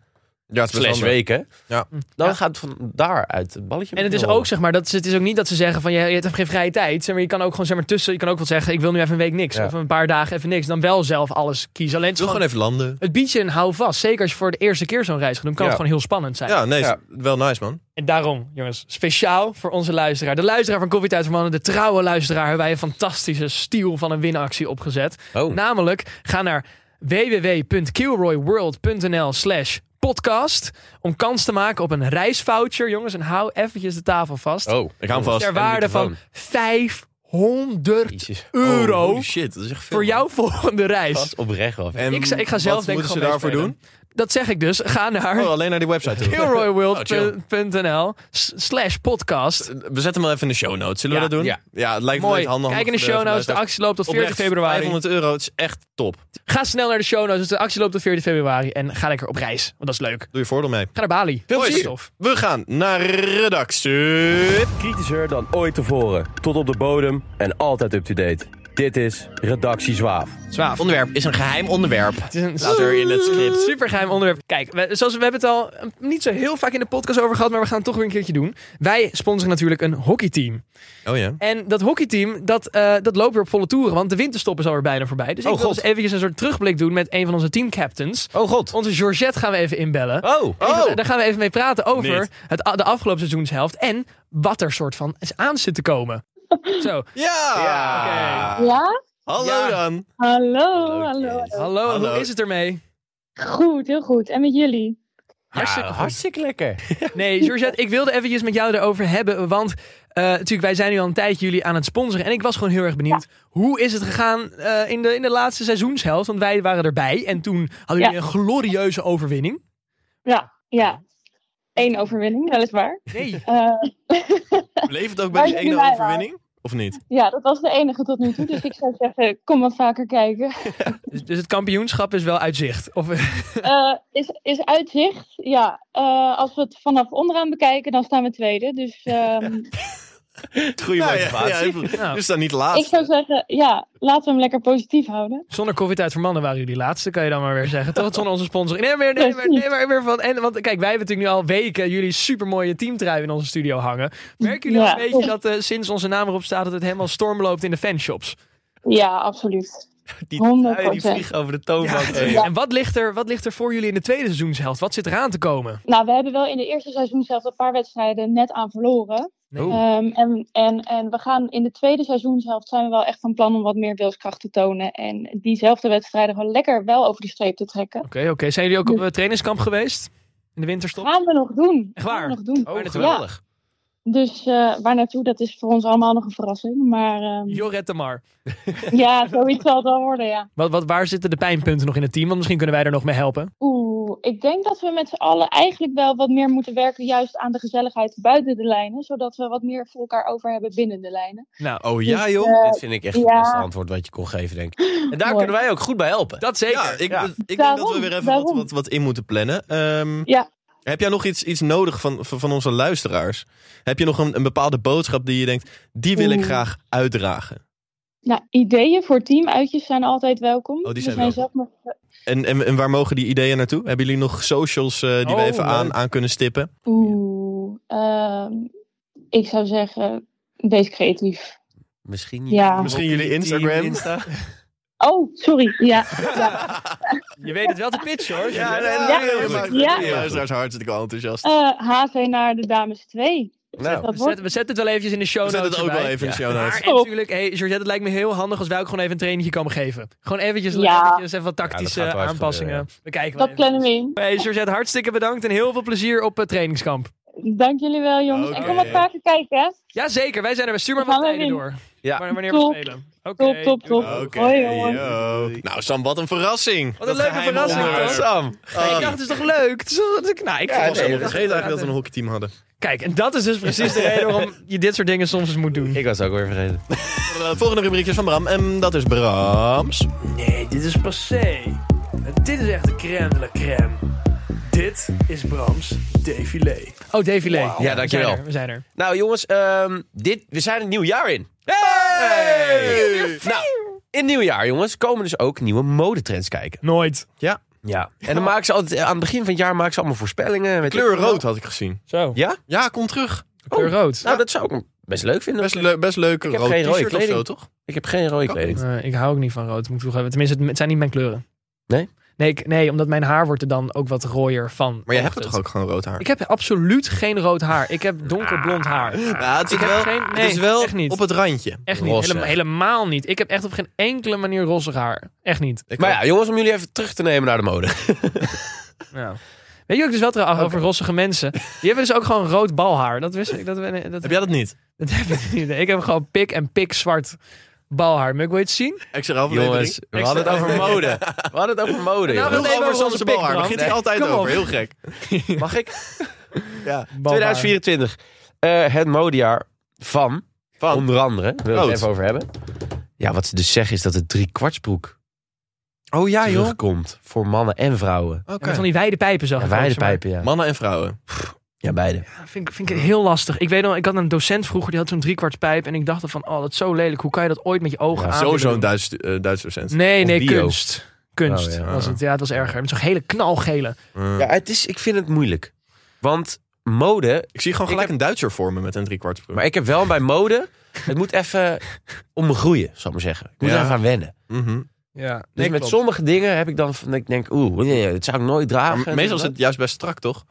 Speaker 3: Ja, het is best
Speaker 1: slash
Speaker 3: wel-
Speaker 1: weken.
Speaker 3: Ja.
Speaker 1: Dan
Speaker 2: Ja.
Speaker 1: gaat het van daaruit het balletje.
Speaker 2: En het is ook, zeg maar, dat, ze- het is ook niet dat ze zeggen van je, je hebt geen vrije tijd. Zeg maar, je kan ook gewoon zeg maar, tussen, je kan ook wel zeggen, ik wil nu even een week niks.
Speaker 1: Ja.
Speaker 2: Of een paar dagen even niks. Dan wel zelf alles kiezen. Alleen het,
Speaker 3: Ik
Speaker 2: is
Speaker 3: wil
Speaker 2: gewoon,
Speaker 3: gewoon even landen.
Speaker 2: het biedt je een hou vast. Zeker als je voor de eerste keer zo'n reis gaat doen, kan
Speaker 1: Ja.
Speaker 2: het gewoon heel spannend zijn.
Speaker 3: Ja, nee, is
Speaker 1: Ja.
Speaker 3: wel nice, man.
Speaker 2: En daarom, jongens, speciaal voor onze luisteraar. De luisteraar van Koffietijd voor Mannen, de trouwe luisteraar, hebben wij een fantastische stiel van een winactie opgezet.
Speaker 1: Oh.
Speaker 2: Namelijk, ga naar www.kilroyworld.nl slash podcast om kans te maken op een reisvoucher. Jongens, en hou eventjes de tafel vast.
Speaker 1: Oh,
Speaker 3: Ik hou hem vast.
Speaker 2: ter waarde van 500
Speaker 1: Jezus.
Speaker 2: euro
Speaker 3: Oh, Holy shit, dat is echt veel.
Speaker 2: voor jouw volgende reis.
Speaker 1: Gast oprecht wel.
Speaker 3: En
Speaker 2: Ik, zou- ik ga zelf
Speaker 3: wat
Speaker 2: denk ik
Speaker 3: moeten
Speaker 2: gewoon
Speaker 3: ze daarvoor doen?
Speaker 2: meespelen. Dat zeg ik dus. Ga naar
Speaker 3: Oh, alleen naar die website toe. Oh,
Speaker 2: eh, kilroyworld.nl slash podcast.
Speaker 3: We zetten hem wel even in de show notes. Zullen
Speaker 2: Ja.
Speaker 3: we dat doen?
Speaker 1: Ja.
Speaker 3: het lijkt me
Speaker 2: Mooi.
Speaker 3: net handig.
Speaker 2: Kijk in de
Speaker 3: om voor
Speaker 2: show notes. De
Speaker 3: luisteraars-
Speaker 2: actie loopt tot 40
Speaker 3: Oprecht,
Speaker 2: februari.
Speaker 3: 500 euro, het is echt top.
Speaker 2: Ga snel naar de show notes. Dus de actie loopt op 14 februari. En ga lekker op reis. Want dat is leuk.
Speaker 3: Doe je voordeel mee.
Speaker 2: Ga naar Bali. Veel
Speaker 3: plezier. We gaan naar redactie.
Speaker 1: Kritischer dan ooit tevoren. Tot op de bodem en altijd up-to-date. Dit is Redactie Zwaaf.
Speaker 2: Zwaaf.
Speaker 3: Ah, Onderwerp is een geheim onderwerp.
Speaker 2: Het is een
Speaker 3: Later in het script.
Speaker 2: supergeheim onderwerp. Kijk, we, zoals we we hebben het al eh, niet zo heel vaak in de podcast over gehad. Maar we gaan het toch weer een keertje doen. Wij sponsoren natuurlijk een hockeyteam.
Speaker 3: Oh ja.
Speaker 2: En dat hockeyteam, dat, eh, dat loopt weer op volle toeren. Want de winterstop is alweer bijna voorbij. Dus ik wil eens eventjes een soort terugblik doen met een van onze teamcaptains.
Speaker 1: Oh god.
Speaker 2: Onze Georgette gaan we even inbellen.
Speaker 1: Oh.
Speaker 2: En die- Daar gaan we even mee praten over
Speaker 3: Niet.
Speaker 2: het, a- de afgelopen seizoenshelft. En wat er soort van is aan zit te komen. Zo,
Speaker 3: Ja! Ah,
Speaker 2: Ja.
Speaker 6: Ja?
Speaker 3: Hallo
Speaker 2: Ja.
Speaker 3: dan.
Speaker 6: Hallo, hallo.
Speaker 2: hallo,
Speaker 3: Hallo.
Speaker 2: hoe is het ermee?
Speaker 6: Goed, heel goed. En met jullie?
Speaker 2: Hartstikke
Speaker 1: Ja,
Speaker 2: goed.
Speaker 1: hartstikke lekker.
Speaker 2: Nee, Georgette, ik wilde eventjes met jou erover hebben. Want eh, natuurlijk, wij zijn nu al een tijdje jullie aan het sponsoren. En ik was gewoon heel erg benieuwd. Hoe is het gegaan eh, in, de, in de laatste seizoenshelft? Want wij waren erbij. En toen hadden jullie
Speaker 6: Ja.
Speaker 2: een glorieuze overwinning.
Speaker 6: Ja, ja. Eén overwinning, weliswaar.
Speaker 2: Nee,
Speaker 6: Eh,
Speaker 3: Bleef het ook bij die
Speaker 6: Waar jullie
Speaker 3: ene
Speaker 6: bij
Speaker 3: overwinning? Of niet?
Speaker 6: ja, dat was de enige tot nu toe. Dus ik zou zeggen, kom wat vaker kijken.
Speaker 2: dus, dus het kampioenschap is wel uit zicht. Of,
Speaker 6: Eh, is, is uitzicht, ja. eh, als we het vanaf onderaan bekijken, dan staan we tweede. Dus ehm,
Speaker 1: Goeie
Speaker 3: Nou
Speaker 1: motivatie.
Speaker 3: even-
Speaker 2: Nou.
Speaker 3: Dus dan niet
Speaker 6: ik
Speaker 3: laatst.
Speaker 6: zou zeggen, ja, laten we hem lekker positief houden.
Speaker 2: Zonder COVID-tijd voor mannen waren jullie laatste, kan je dan maar weer zeggen. Toch? Zonder onze sponsoring. Nee, maar, nee, maar, nee, maar weer van. En, want kijk, wij hebben natuurlijk nu al weken jullie supermooie teamtrui in onze studio hangen. Merken jullie
Speaker 6: Ja.
Speaker 2: al een beetje dat eh, sinds onze naam erop staat dat het helemaal storm loopt in de fanshops?
Speaker 6: Ja, absoluut.
Speaker 1: Die
Speaker 6: 100%.
Speaker 1: tuien die vliegen over de toonbank heen.
Speaker 2: En wat ligt, er, wat ligt er voor jullie in de tweede seizoenshelft? Wat zit eraan te komen?
Speaker 6: Nou, we hebben wel in de eerste seizoen zelf een paar wedstrijden net aan verloren. Ehm, en, en, en we gaan in de tweede seizoenshelft zijn we wel echt van plan om wat meer wilskracht te tonen. En diezelfde wedstrijden gewoon lekker wel over die streep te trekken.
Speaker 2: Oké, oké. Zijn jullie ook op eh, trainingskamp geweest? In de winterstop?
Speaker 6: Gaan we nog doen.
Speaker 2: Echt waar?
Speaker 6: Gaan we nog doen.
Speaker 2: Oh,
Speaker 6: ja, dus eh, waar naartoe, dat is voor ons allemaal nog een verrassing. Maar ehm,
Speaker 2: Jorette Mar.
Speaker 6: ja, zoiets zal het wel worden, ja.
Speaker 2: Wat, wat, waar zitten de pijnpunten nog in het team? Want misschien kunnen wij er nog mee helpen.
Speaker 6: Oeh, ik denk dat we met z'n allen eigenlijk wel wat meer moeten werken juist aan de gezelligheid buiten de lijnen. Zodat we wat meer voor elkaar over hebben binnen de lijnen.
Speaker 2: Nou,
Speaker 3: Oh ja, joh.
Speaker 6: Eh,
Speaker 1: Dit vind ik echt het
Speaker 6: Ja.
Speaker 1: beste antwoord wat je kon geven, denk ik. En daar
Speaker 6: Mooi.
Speaker 1: kunnen wij ook goed bij helpen.
Speaker 2: dat zeker.
Speaker 3: Ja, ik,
Speaker 1: Ja.
Speaker 3: ik denk dat we
Speaker 6: Daarom,
Speaker 3: weer even wat,
Speaker 6: daarom.
Speaker 3: wat, wat in moeten plannen. Ehm,
Speaker 6: Ja.
Speaker 3: Heb jij nog iets, iets nodig van, van, van onze luisteraars? Heb je nog een, een bepaalde boodschap die je denkt, die wil ik
Speaker 6: Oeh.
Speaker 3: graag uitdragen?
Speaker 6: Nou, ideeën voor teamuitjes zijn altijd welkom.
Speaker 3: Oh, die
Speaker 6: We
Speaker 3: zijn
Speaker 6: zelf nog
Speaker 3: En, en, en waar mogen die ideeën naartoe? Hebben jullie nog socials eh, die we
Speaker 2: Oh,
Speaker 3: even aan,
Speaker 2: leuk.
Speaker 3: aan kunnen stippen?
Speaker 6: Oeh, ehm, ik zou zeggen, wees creatief.
Speaker 1: Misschien niet.
Speaker 6: Ja.
Speaker 3: Misschien jullie Instagram?
Speaker 1: Insta.
Speaker 6: Oh, sorry. Ja,
Speaker 2: Je weet het wel te pitchen hoor.
Speaker 3: Ja, nee,
Speaker 6: Ja.
Speaker 3: heel goed.
Speaker 6: Ja.
Speaker 3: Die luisteraars hartstikke enthousiast.
Speaker 6: eh, HV naar de dames 2.
Speaker 1: Nou,
Speaker 6: Dat
Speaker 2: We
Speaker 6: wordt
Speaker 2: zetten, we zetten het wel eventjes in de show
Speaker 3: We
Speaker 2: notes
Speaker 3: zetten het ook
Speaker 2: erbij.
Speaker 3: wel even in de show notes.
Speaker 2: Maar en natuurlijk, hey, Georgette, het lijkt me heel handig als wij ook gewoon even een trainingje komen geven. Gewoon eventjes,
Speaker 6: Ja.
Speaker 2: eventjes even wat tactische
Speaker 1: Ja, dat gaat wel even
Speaker 2: aanpassingen.
Speaker 1: gebeuren,
Speaker 2: We kijken wel
Speaker 6: dat
Speaker 2: even.
Speaker 6: plannen we in.
Speaker 2: Hey Georgette, hartstikke bedankt en heel veel plezier op het trainingskamp.
Speaker 6: Dank jullie wel, jongens. En
Speaker 3: Oké.
Speaker 6: kom wat vaker kijken, hè.
Speaker 2: Jazeker, wij zijn er. We sturen
Speaker 6: We
Speaker 2: maar wat
Speaker 6: gaan
Speaker 2: tijden
Speaker 6: erin.
Speaker 2: door.
Speaker 1: Ja.
Speaker 2: Wanneer- Wanneer we
Speaker 6: Top.
Speaker 2: spelen. Oké.
Speaker 6: Top, top, top.
Speaker 3: Oké.
Speaker 6: Hoi, jongens.
Speaker 3: yo. Nou, Sam, wat een verrassing.
Speaker 2: Wat een leuke
Speaker 3: geheime
Speaker 2: verrassing,
Speaker 3: onderwerp.
Speaker 2: toch?
Speaker 1: Sam.
Speaker 2: Hey,
Speaker 3: Oh,
Speaker 2: ik dacht, het is toch leuk? Het is toch- het is- nou, ik
Speaker 3: Ik was
Speaker 2: vind het wel
Speaker 3: helemaal
Speaker 2: zo-
Speaker 3: vergeten eigenlijk dat we een hockeyteam hadden.
Speaker 2: Kijk, en dat is dus precies de reden waarom je dit soort dingen soms eens moet doen.
Speaker 1: Ik was ook weer vergeten.
Speaker 3: De volgende rubriek is van Bram en dat is Brams.
Speaker 2: Nee, dit is passé. Dit is echt de crème de la crème. Dit is Brams défilé. Oh, défilé.
Speaker 1: Ja,
Speaker 2: We zijn
Speaker 1: dankjewel.
Speaker 2: er, We zijn er.
Speaker 1: Nou jongens, ehm, dit, we zijn het nieuw jaar in. Nou, in het nieuwe jaar jongens komen dus ook nieuwe modetrends kijken.
Speaker 2: Nooit.
Speaker 3: Ja.
Speaker 1: Ja. En dan maken ze altijd, eh, aan het begin van het jaar maken ze allemaal voorspellingen. Weet
Speaker 3: Kleur
Speaker 1: ik veel.
Speaker 3: rood had ik gezien.
Speaker 2: Zo.
Speaker 3: Ja, kom terug.
Speaker 2: Kleur rood.
Speaker 1: Nou, dat zou ik best leuk vinden.
Speaker 3: Best, le best leuke
Speaker 1: Ik heb
Speaker 3: rood
Speaker 1: geen rode
Speaker 3: t-shirt of zo,
Speaker 1: kleding.
Speaker 3: toch?
Speaker 1: Ik heb geen rode kleding.
Speaker 2: Eh, ik hou ook niet van rood, moet ik toegeven. Tenminste, het, het zijn niet mijn kleuren.
Speaker 1: Nee?
Speaker 2: Nee, ik- nee, omdat mijn haar wordt er dan ook wat rooier van.
Speaker 3: Maar jij hebt
Speaker 2: oogt
Speaker 3: er toch
Speaker 2: het.
Speaker 3: ook gewoon rood haar?
Speaker 2: Ik heb absoluut geen rood haar. Ik heb donkerblond haar.
Speaker 3: Ja, het is
Speaker 2: Ik heb
Speaker 3: wel,
Speaker 2: geen-
Speaker 3: het
Speaker 2: nee,
Speaker 3: is wel
Speaker 2: echt niet.
Speaker 3: op het randje.
Speaker 2: Echt niet.
Speaker 3: Roze.
Speaker 2: Helemaal, helemaal niet. Ik heb echt op geen enkele manier rossig haar. Echt niet.
Speaker 3: Ik
Speaker 1: Maar
Speaker 3: ook.
Speaker 1: ja, jongens, om jullie even terug te nemen naar de mode.
Speaker 2: Weet je ook dus wel trouwens over rossige mensen? Die hebben dus ook gewoon rood balhaar. Dat wist ik. Dat, we- dat,
Speaker 3: Heb jij dat niet?
Speaker 2: dat heb ik niet. Nee, Ik heb gewoon pik en pik zwart balhaar. Moet ik wel iets zien?
Speaker 3: Extra aflevering.
Speaker 1: Jongens, we hadden het over mode. We hadden het over mode,
Speaker 2: Nou,
Speaker 1: jongens.
Speaker 2: we-
Speaker 3: Heel
Speaker 2: Nee,
Speaker 3: over
Speaker 2: maar
Speaker 3: Samse
Speaker 2: onze
Speaker 3: balhaar.
Speaker 2: pik,
Speaker 3: Begint hij
Speaker 2: Bram.
Speaker 3: altijd
Speaker 2: Kom op.
Speaker 3: over. Heel gek.
Speaker 1: Mag ik?
Speaker 2: Balhaar.
Speaker 1: 2024. Eh, het modejaar van,
Speaker 3: Van.
Speaker 1: onder andere, wil ik
Speaker 3: Rood.
Speaker 1: het even over hebben. Ja, wat ze dus zeggen is dat de driekwartsbroek
Speaker 3: Oh
Speaker 7: Ah,
Speaker 3: ja,
Speaker 1: terugkomt voor mannen en vrouwen.
Speaker 3: Oké.
Speaker 2: En met van die wijde pijpen zag
Speaker 1: Ja,
Speaker 2: ik ook, zeg
Speaker 1: beide
Speaker 2: maar.
Speaker 1: pijpen, ja.
Speaker 3: Mannen en vrouwen.
Speaker 1: Ja, beide.
Speaker 2: Ja, vind, ik- vind ik heel lastig. Ik weet nog, ik had een docent vroeger, die had zo'n driekwarts pijp. En ik dacht van, oh, dat is zo lelijk. Hoe kan je dat ooit met je ogen
Speaker 1: Ja,
Speaker 2: aan
Speaker 3: Sowieso
Speaker 2: willen
Speaker 3: een
Speaker 2: doen?
Speaker 3: Duits, eh, Duits docent.
Speaker 2: Nee,
Speaker 1: Of
Speaker 2: nee,
Speaker 1: Dio.
Speaker 2: kunst. Kunst
Speaker 1: Oh, ja.
Speaker 2: was het. Ja, het was erger. Met zo'n hele knalgele.
Speaker 3: Eh,
Speaker 1: Ja, het is, ik vind het moeilijk. Want mode...
Speaker 3: Ik zie gewoon gelijk een Duitser voor me met een driekwartsbroek.
Speaker 1: Maar ik heb wel bij mode... Het moet even om me groeien, zal ik maar zeggen. Ik moet
Speaker 3: Ja.
Speaker 1: er even aan wennen.
Speaker 3: Mhm.
Speaker 2: Ja,
Speaker 1: Dus met sommige dingen heb ik dan van, dat ik denk, oeh, nee, dat zou ik nooit dragen. Dus
Speaker 3: Maar meestal is het juist best strak, toch?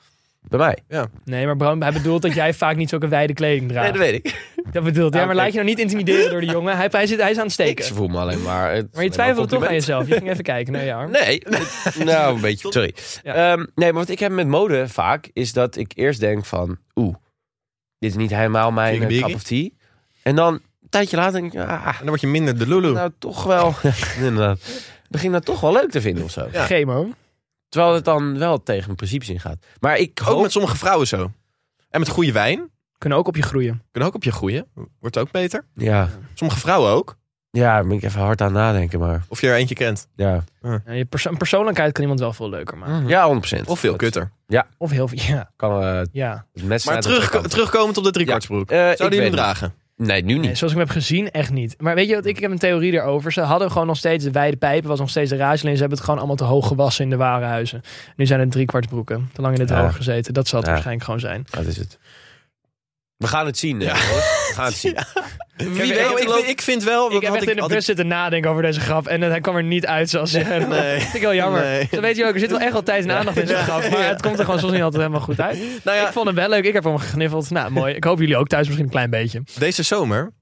Speaker 1: bij mij.
Speaker 2: Nee, maar Bram, hij bedoelt dat jij vaak niet zulke wijde kleding draagt.
Speaker 1: weet ik.
Speaker 2: Dat bedoelt hij.
Speaker 1: Ja,
Speaker 2: maar
Speaker 1: oké.
Speaker 2: laat je nou niet intimideren door de jongen. Hij, hij, zit, hij is aan het
Speaker 1: Ik
Speaker 2: steken.
Speaker 1: voel me alleen maar. het-
Speaker 2: Maar je twijfelde toch aan jezelf. Je ging even kijken naar je arm.
Speaker 1: Nee, nou een beetje. Sorry.
Speaker 2: Ja.
Speaker 1: Ehm, nee, maar wat ik heb met mode vaak is dat ik eerst denk van, oeh, dit is niet helemaal mijn
Speaker 3: Biggie,
Speaker 1: eh, cup
Speaker 3: biggie.
Speaker 1: of tea. En dan een tijdje later denk ik, ah,
Speaker 3: En dan word je minder de lulu.
Speaker 1: nou toch wel. inderdaad. Ik Begin dat toch wel leuk te vinden of zo.
Speaker 3: Ja.
Speaker 2: Chemo.
Speaker 1: Terwijl het dan wel tegen mijn principes ingaat. Maar ik
Speaker 3: ook
Speaker 1: hoop.
Speaker 3: met sommige vrouwen zo. En met goede wijn.
Speaker 2: Kunnen ook op je groeien.
Speaker 3: Kunnen ook op je groeien. Wordt ook beter.
Speaker 1: Ja,
Speaker 3: Sommige vrouwen ook.
Speaker 1: ja, daar ben ik even hard aan nadenken, maar
Speaker 3: Of je er eentje kent.
Speaker 1: ja.
Speaker 2: Ja, je perso- persoonlijkheid kan iemand wel veel leuker maken.
Speaker 1: Ja, 100%.
Speaker 3: Mhm. Of veel
Speaker 1: Dat
Speaker 3: kutter.
Speaker 2: Mm. Of heel veel. Ja,
Speaker 1: Kan eh,
Speaker 2: ja.
Speaker 1: het net
Speaker 3: Maar
Speaker 1: snijden
Speaker 3: terug,
Speaker 1: aan de
Speaker 3: terugkomend op de driekwartsbroek.
Speaker 1: Eh, ik
Speaker 3: Zou die hem
Speaker 1: weet
Speaker 3: dragen?
Speaker 1: niet. Nee, nu
Speaker 2: Nee,
Speaker 1: niet.
Speaker 2: zoals ik hem heb gezien, echt niet. Maar weet je wat? Ik heb een theorie daarover. Ze hadden gewoon nog steeds de wijde pijpen, was nog steeds de raadsel. En ze hebben het gewoon allemaal te hoog gewassen in de warenhuizen. Nu zijn het driekwartsbroeken. Te lang in het
Speaker 1: Ja.
Speaker 2: droog gezeten. Dat zal het
Speaker 1: Ja.
Speaker 2: waarschijnlijk gewoon zijn.
Speaker 1: Dat is het. We gaan het zien. eh, jongens. We gaan het zien.
Speaker 2: Wie weet,
Speaker 3: ik, vind, ik vind wel...
Speaker 2: Ik
Speaker 3: dat
Speaker 2: heb
Speaker 3: had
Speaker 2: echt in de
Speaker 3: had
Speaker 2: bus zitten nadenken over deze grap. En hij kwam er niet uit zoals je. Dat
Speaker 3: nee.
Speaker 2: vind ik heel jammer.
Speaker 3: Nee.
Speaker 2: Dan weet je ook, er zit wel echt wel tijd en aandacht in zo'n grap. Maar het komt er gewoon soms niet altijd helemaal goed uit.
Speaker 3: Nou ja,
Speaker 2: Ik vond hem wel leuk. Ik heb hem gegniffeld. Nou, mooi. Ik hoop jullie ook thuis misschien een klein beetje.
Speaker 3: Deze zomer,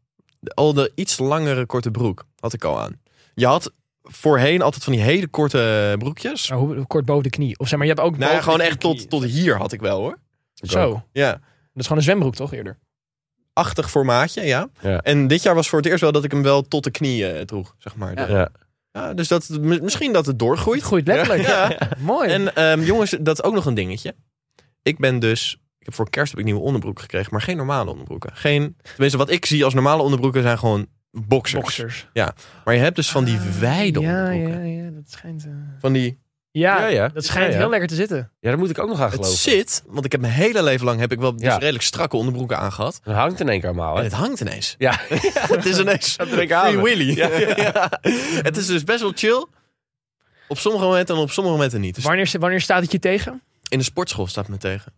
Speaker 3: de- al de iets langere korte broek had ik al aan. Je had voorheen altijd van die hele korte broekjes.
Speaker 2: Maar hoe, hoe kort boven de knie? Of zeg maar, je hebt ook...
Speaker 3: nou, ja,
Speaker 2: boven
Speaker 3: gewoon
Speaker 2: de
Speaker 3: echt
Speaker 2: knie-
Speaker 3: tot, tot hier had ik wel hoor.
Speaker 2: Zo. Dat
Speaker 3: Ja,
Speaker 2: is gewoon een zwembroek, toch, eerder?
Speaker 3: achtig formaatje, ja.
Speaker 1: Ja.
Speaker 3: En dit jaar was voor het eerst wel dat ik hem wel tot de knieën eh, droeg, zeg maar.
Speaker 2: Ja.
Speaker 3: De- ja, dus dat, mi- misschien dat het doorgroeit.
Speaker 2: Het groeit letterlijk.
Speaker 3: Ja.
Speaker 2: Mooi.
Speaker 3: En ehm, jongens, dat is ook nog een dingetje. Ik ben dus... Ik heb voor kerst heb ik nieuwe onderbroeken gekregen, maar geen normale onderbroeken. Geen, tenminste, wat ik zie als normale onderbroeken zijn gewoon boxers.
Speaker 2: boxers.
Speaker 3: Maar je hebt dus van die wijde
Speaker 2: Ah, Ja,
Speaker 3: onderbroeken.
Speaker 2: ja, ja. Dat schijnt... eh,
Speaker 3: Van die
Speaker 2: Ja,
Speaker 1: Ja, ja.
Speaker 2: dat schijnt
Speaker 1: Ja, ja.
Speaker 2: heel lekker te zitten.
Speaker 1: Ja, daar moet ik ook nog aan
Speaker 3: Het
Speaker 1: geloven.
Speaker 3: zit, want ik heb mijn hele leven lang heb ik wel dus
Speaker 1: Ja.
Speaker 3: redelijk strakke onderbroeken aangehad.
Speaker 1: Dat hangt in één keer allemaal.
Speaker 3: En
Speaker 1: Hè?
Speaker 3: het hangt ineens.
Speaker 1: Ja.
Speaker 3: het is ineens Free Willy. Ja. Het is dus best wel chill. Op sommige momenten en op sommige momenten niet. Dus
Speaker 2: Wanneer, wanneer staat het je tegen?
Speaker 3: in de sportschool staat het me tegen.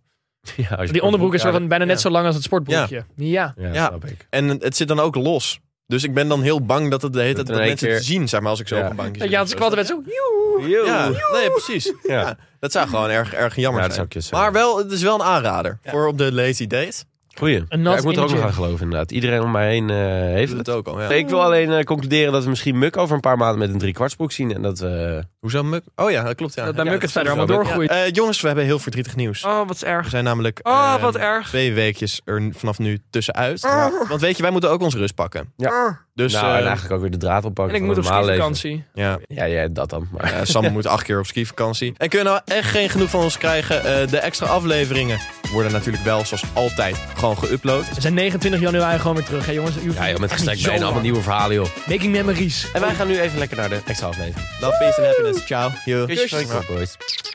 Speaker 1: Ja, als je
Speaker 2: Die onderbroek is
Speaker 1: ja,
Speaker 2: wel bijna net
Speaker 3: ja.
Speaker 2: zo lang als het sportbroekje. ja.
Speaker 1: Ja,
Speaker 3: Ja.
Speaker 1: snap ik.
Speaker 3: En het zit dan ook los. Dus ik ben dan heel bang dat het de hele
Speaker 1: Dat
Speaker 3: tijd
Speaker 1: er
Speaker 3: dat
Speaker 1: in
Speaker 3: mensen
Speaker 1: één
Speaker 3: het zien, zeg maar, als ik zo
Speaker 1: Ja.
Speaker 3: op een bankje
Speaker 2: Dat
Speaker 3: zit.
Speaker 2: je aan
Speaker 3: of
Speaker 2: het
Speaker 3: zo.
Speaker 2: squatten bent zo...
Speaker 3: Ja, nee, precies.
Speaker 1: Ja.
Speaker 3: Ja. Dat zou gewoon erg, erg jammer
Speaker 1: Ja, dat
Speaker 3: zijn.
Speaker 1: zou ik je zeggen.
Speaker 3: Maar wel, het is wel een aanrader voor op de lazy date.
Speaker 1: Goeie.
Speaker 2: Een
Speaker 1: Ja,
Speaker 2: nat
Speaker 1: ik moet er
Speaker 2: in
Speaker 1: ook
Speaker 2: de
Speaker 1: nog
Speaker 2: gym.
Speaker 1: aan geloven, inderdaad. Iedereen om mij heen eh, heeft
Speaker 3: Doet
Speaker 1: het.
Speaker 3: het ook al. Ja.
Speaker 1: Ik wil alleen eh, concluderen dat we misschien Muk over een paar maanden met een driekwartsbroek zien. En dat eh,
Speaker 3: Hoezo muk? Oh ja, dat klopt. Ja.
Speaker 2: Dat bij
Speaker 3: Ja,
Speaker 2: Muk het verder
Speaker 1: sowieso.
Speaker 2: allemaal doorgroeit.
Speaker 3: Eh, jongens, we hebben heel verdrietig nieuws.
Speaker 2: Oh, wat
Speaker 3: We
Speaker 2: erg.
Speaker 3: zijn namelijk
Speaker 2: Oh,
Speaker 3: eh,
Speaker 2: wat erg. Oh.
Speaker 3: twee weekjes er n- vanaf nu tussenuit. Want weet je, wij moeten ook onze rust pakken.
Speaker 1: Ja.
Speaker 3: Dus
Speaker 1: nou, en
Speaker 3: eh,
Speaker 1: eigenlijk ook weer de draad oppakken.
Speaker 2: En ik
Speaker 1: van
Speaker 2: moet
Speaker 1: het
Speaker 2: op
Speaker 1: normale leven.
Speaker 2: vakantie.
Speaker 3: ja.
Speaker 1: Ja, ja, dat dan. Maar
Speaker 3: Eh, Sam moet acht keer op skivakantie. En kun je nou echt geen genoeg van ons krijgen? Eh, de extra afleveringen worden natuurlijk wel, zoals altijd, gewoon geüpload.
Speaker 2: We zijn 29 januari gewoon weer terug, hè jongens. U
Speaker 1: ja, joh, met
Speaker 2: echt niet
Speaker 1: gestrekt
Speaker 2: zo
Speaker 1: benen, allemaal
Speaker 2: lang.
Speaker 1: nieuwe verhalen, joh.
Speaker 2: Making memories.
Speaker 1: En wij gaan nu even lekker naar de extra aflevering.
Speaker 3: Love, peace and happiness. Ciao. Yo.
Speaker 1: Kusjes. Boys.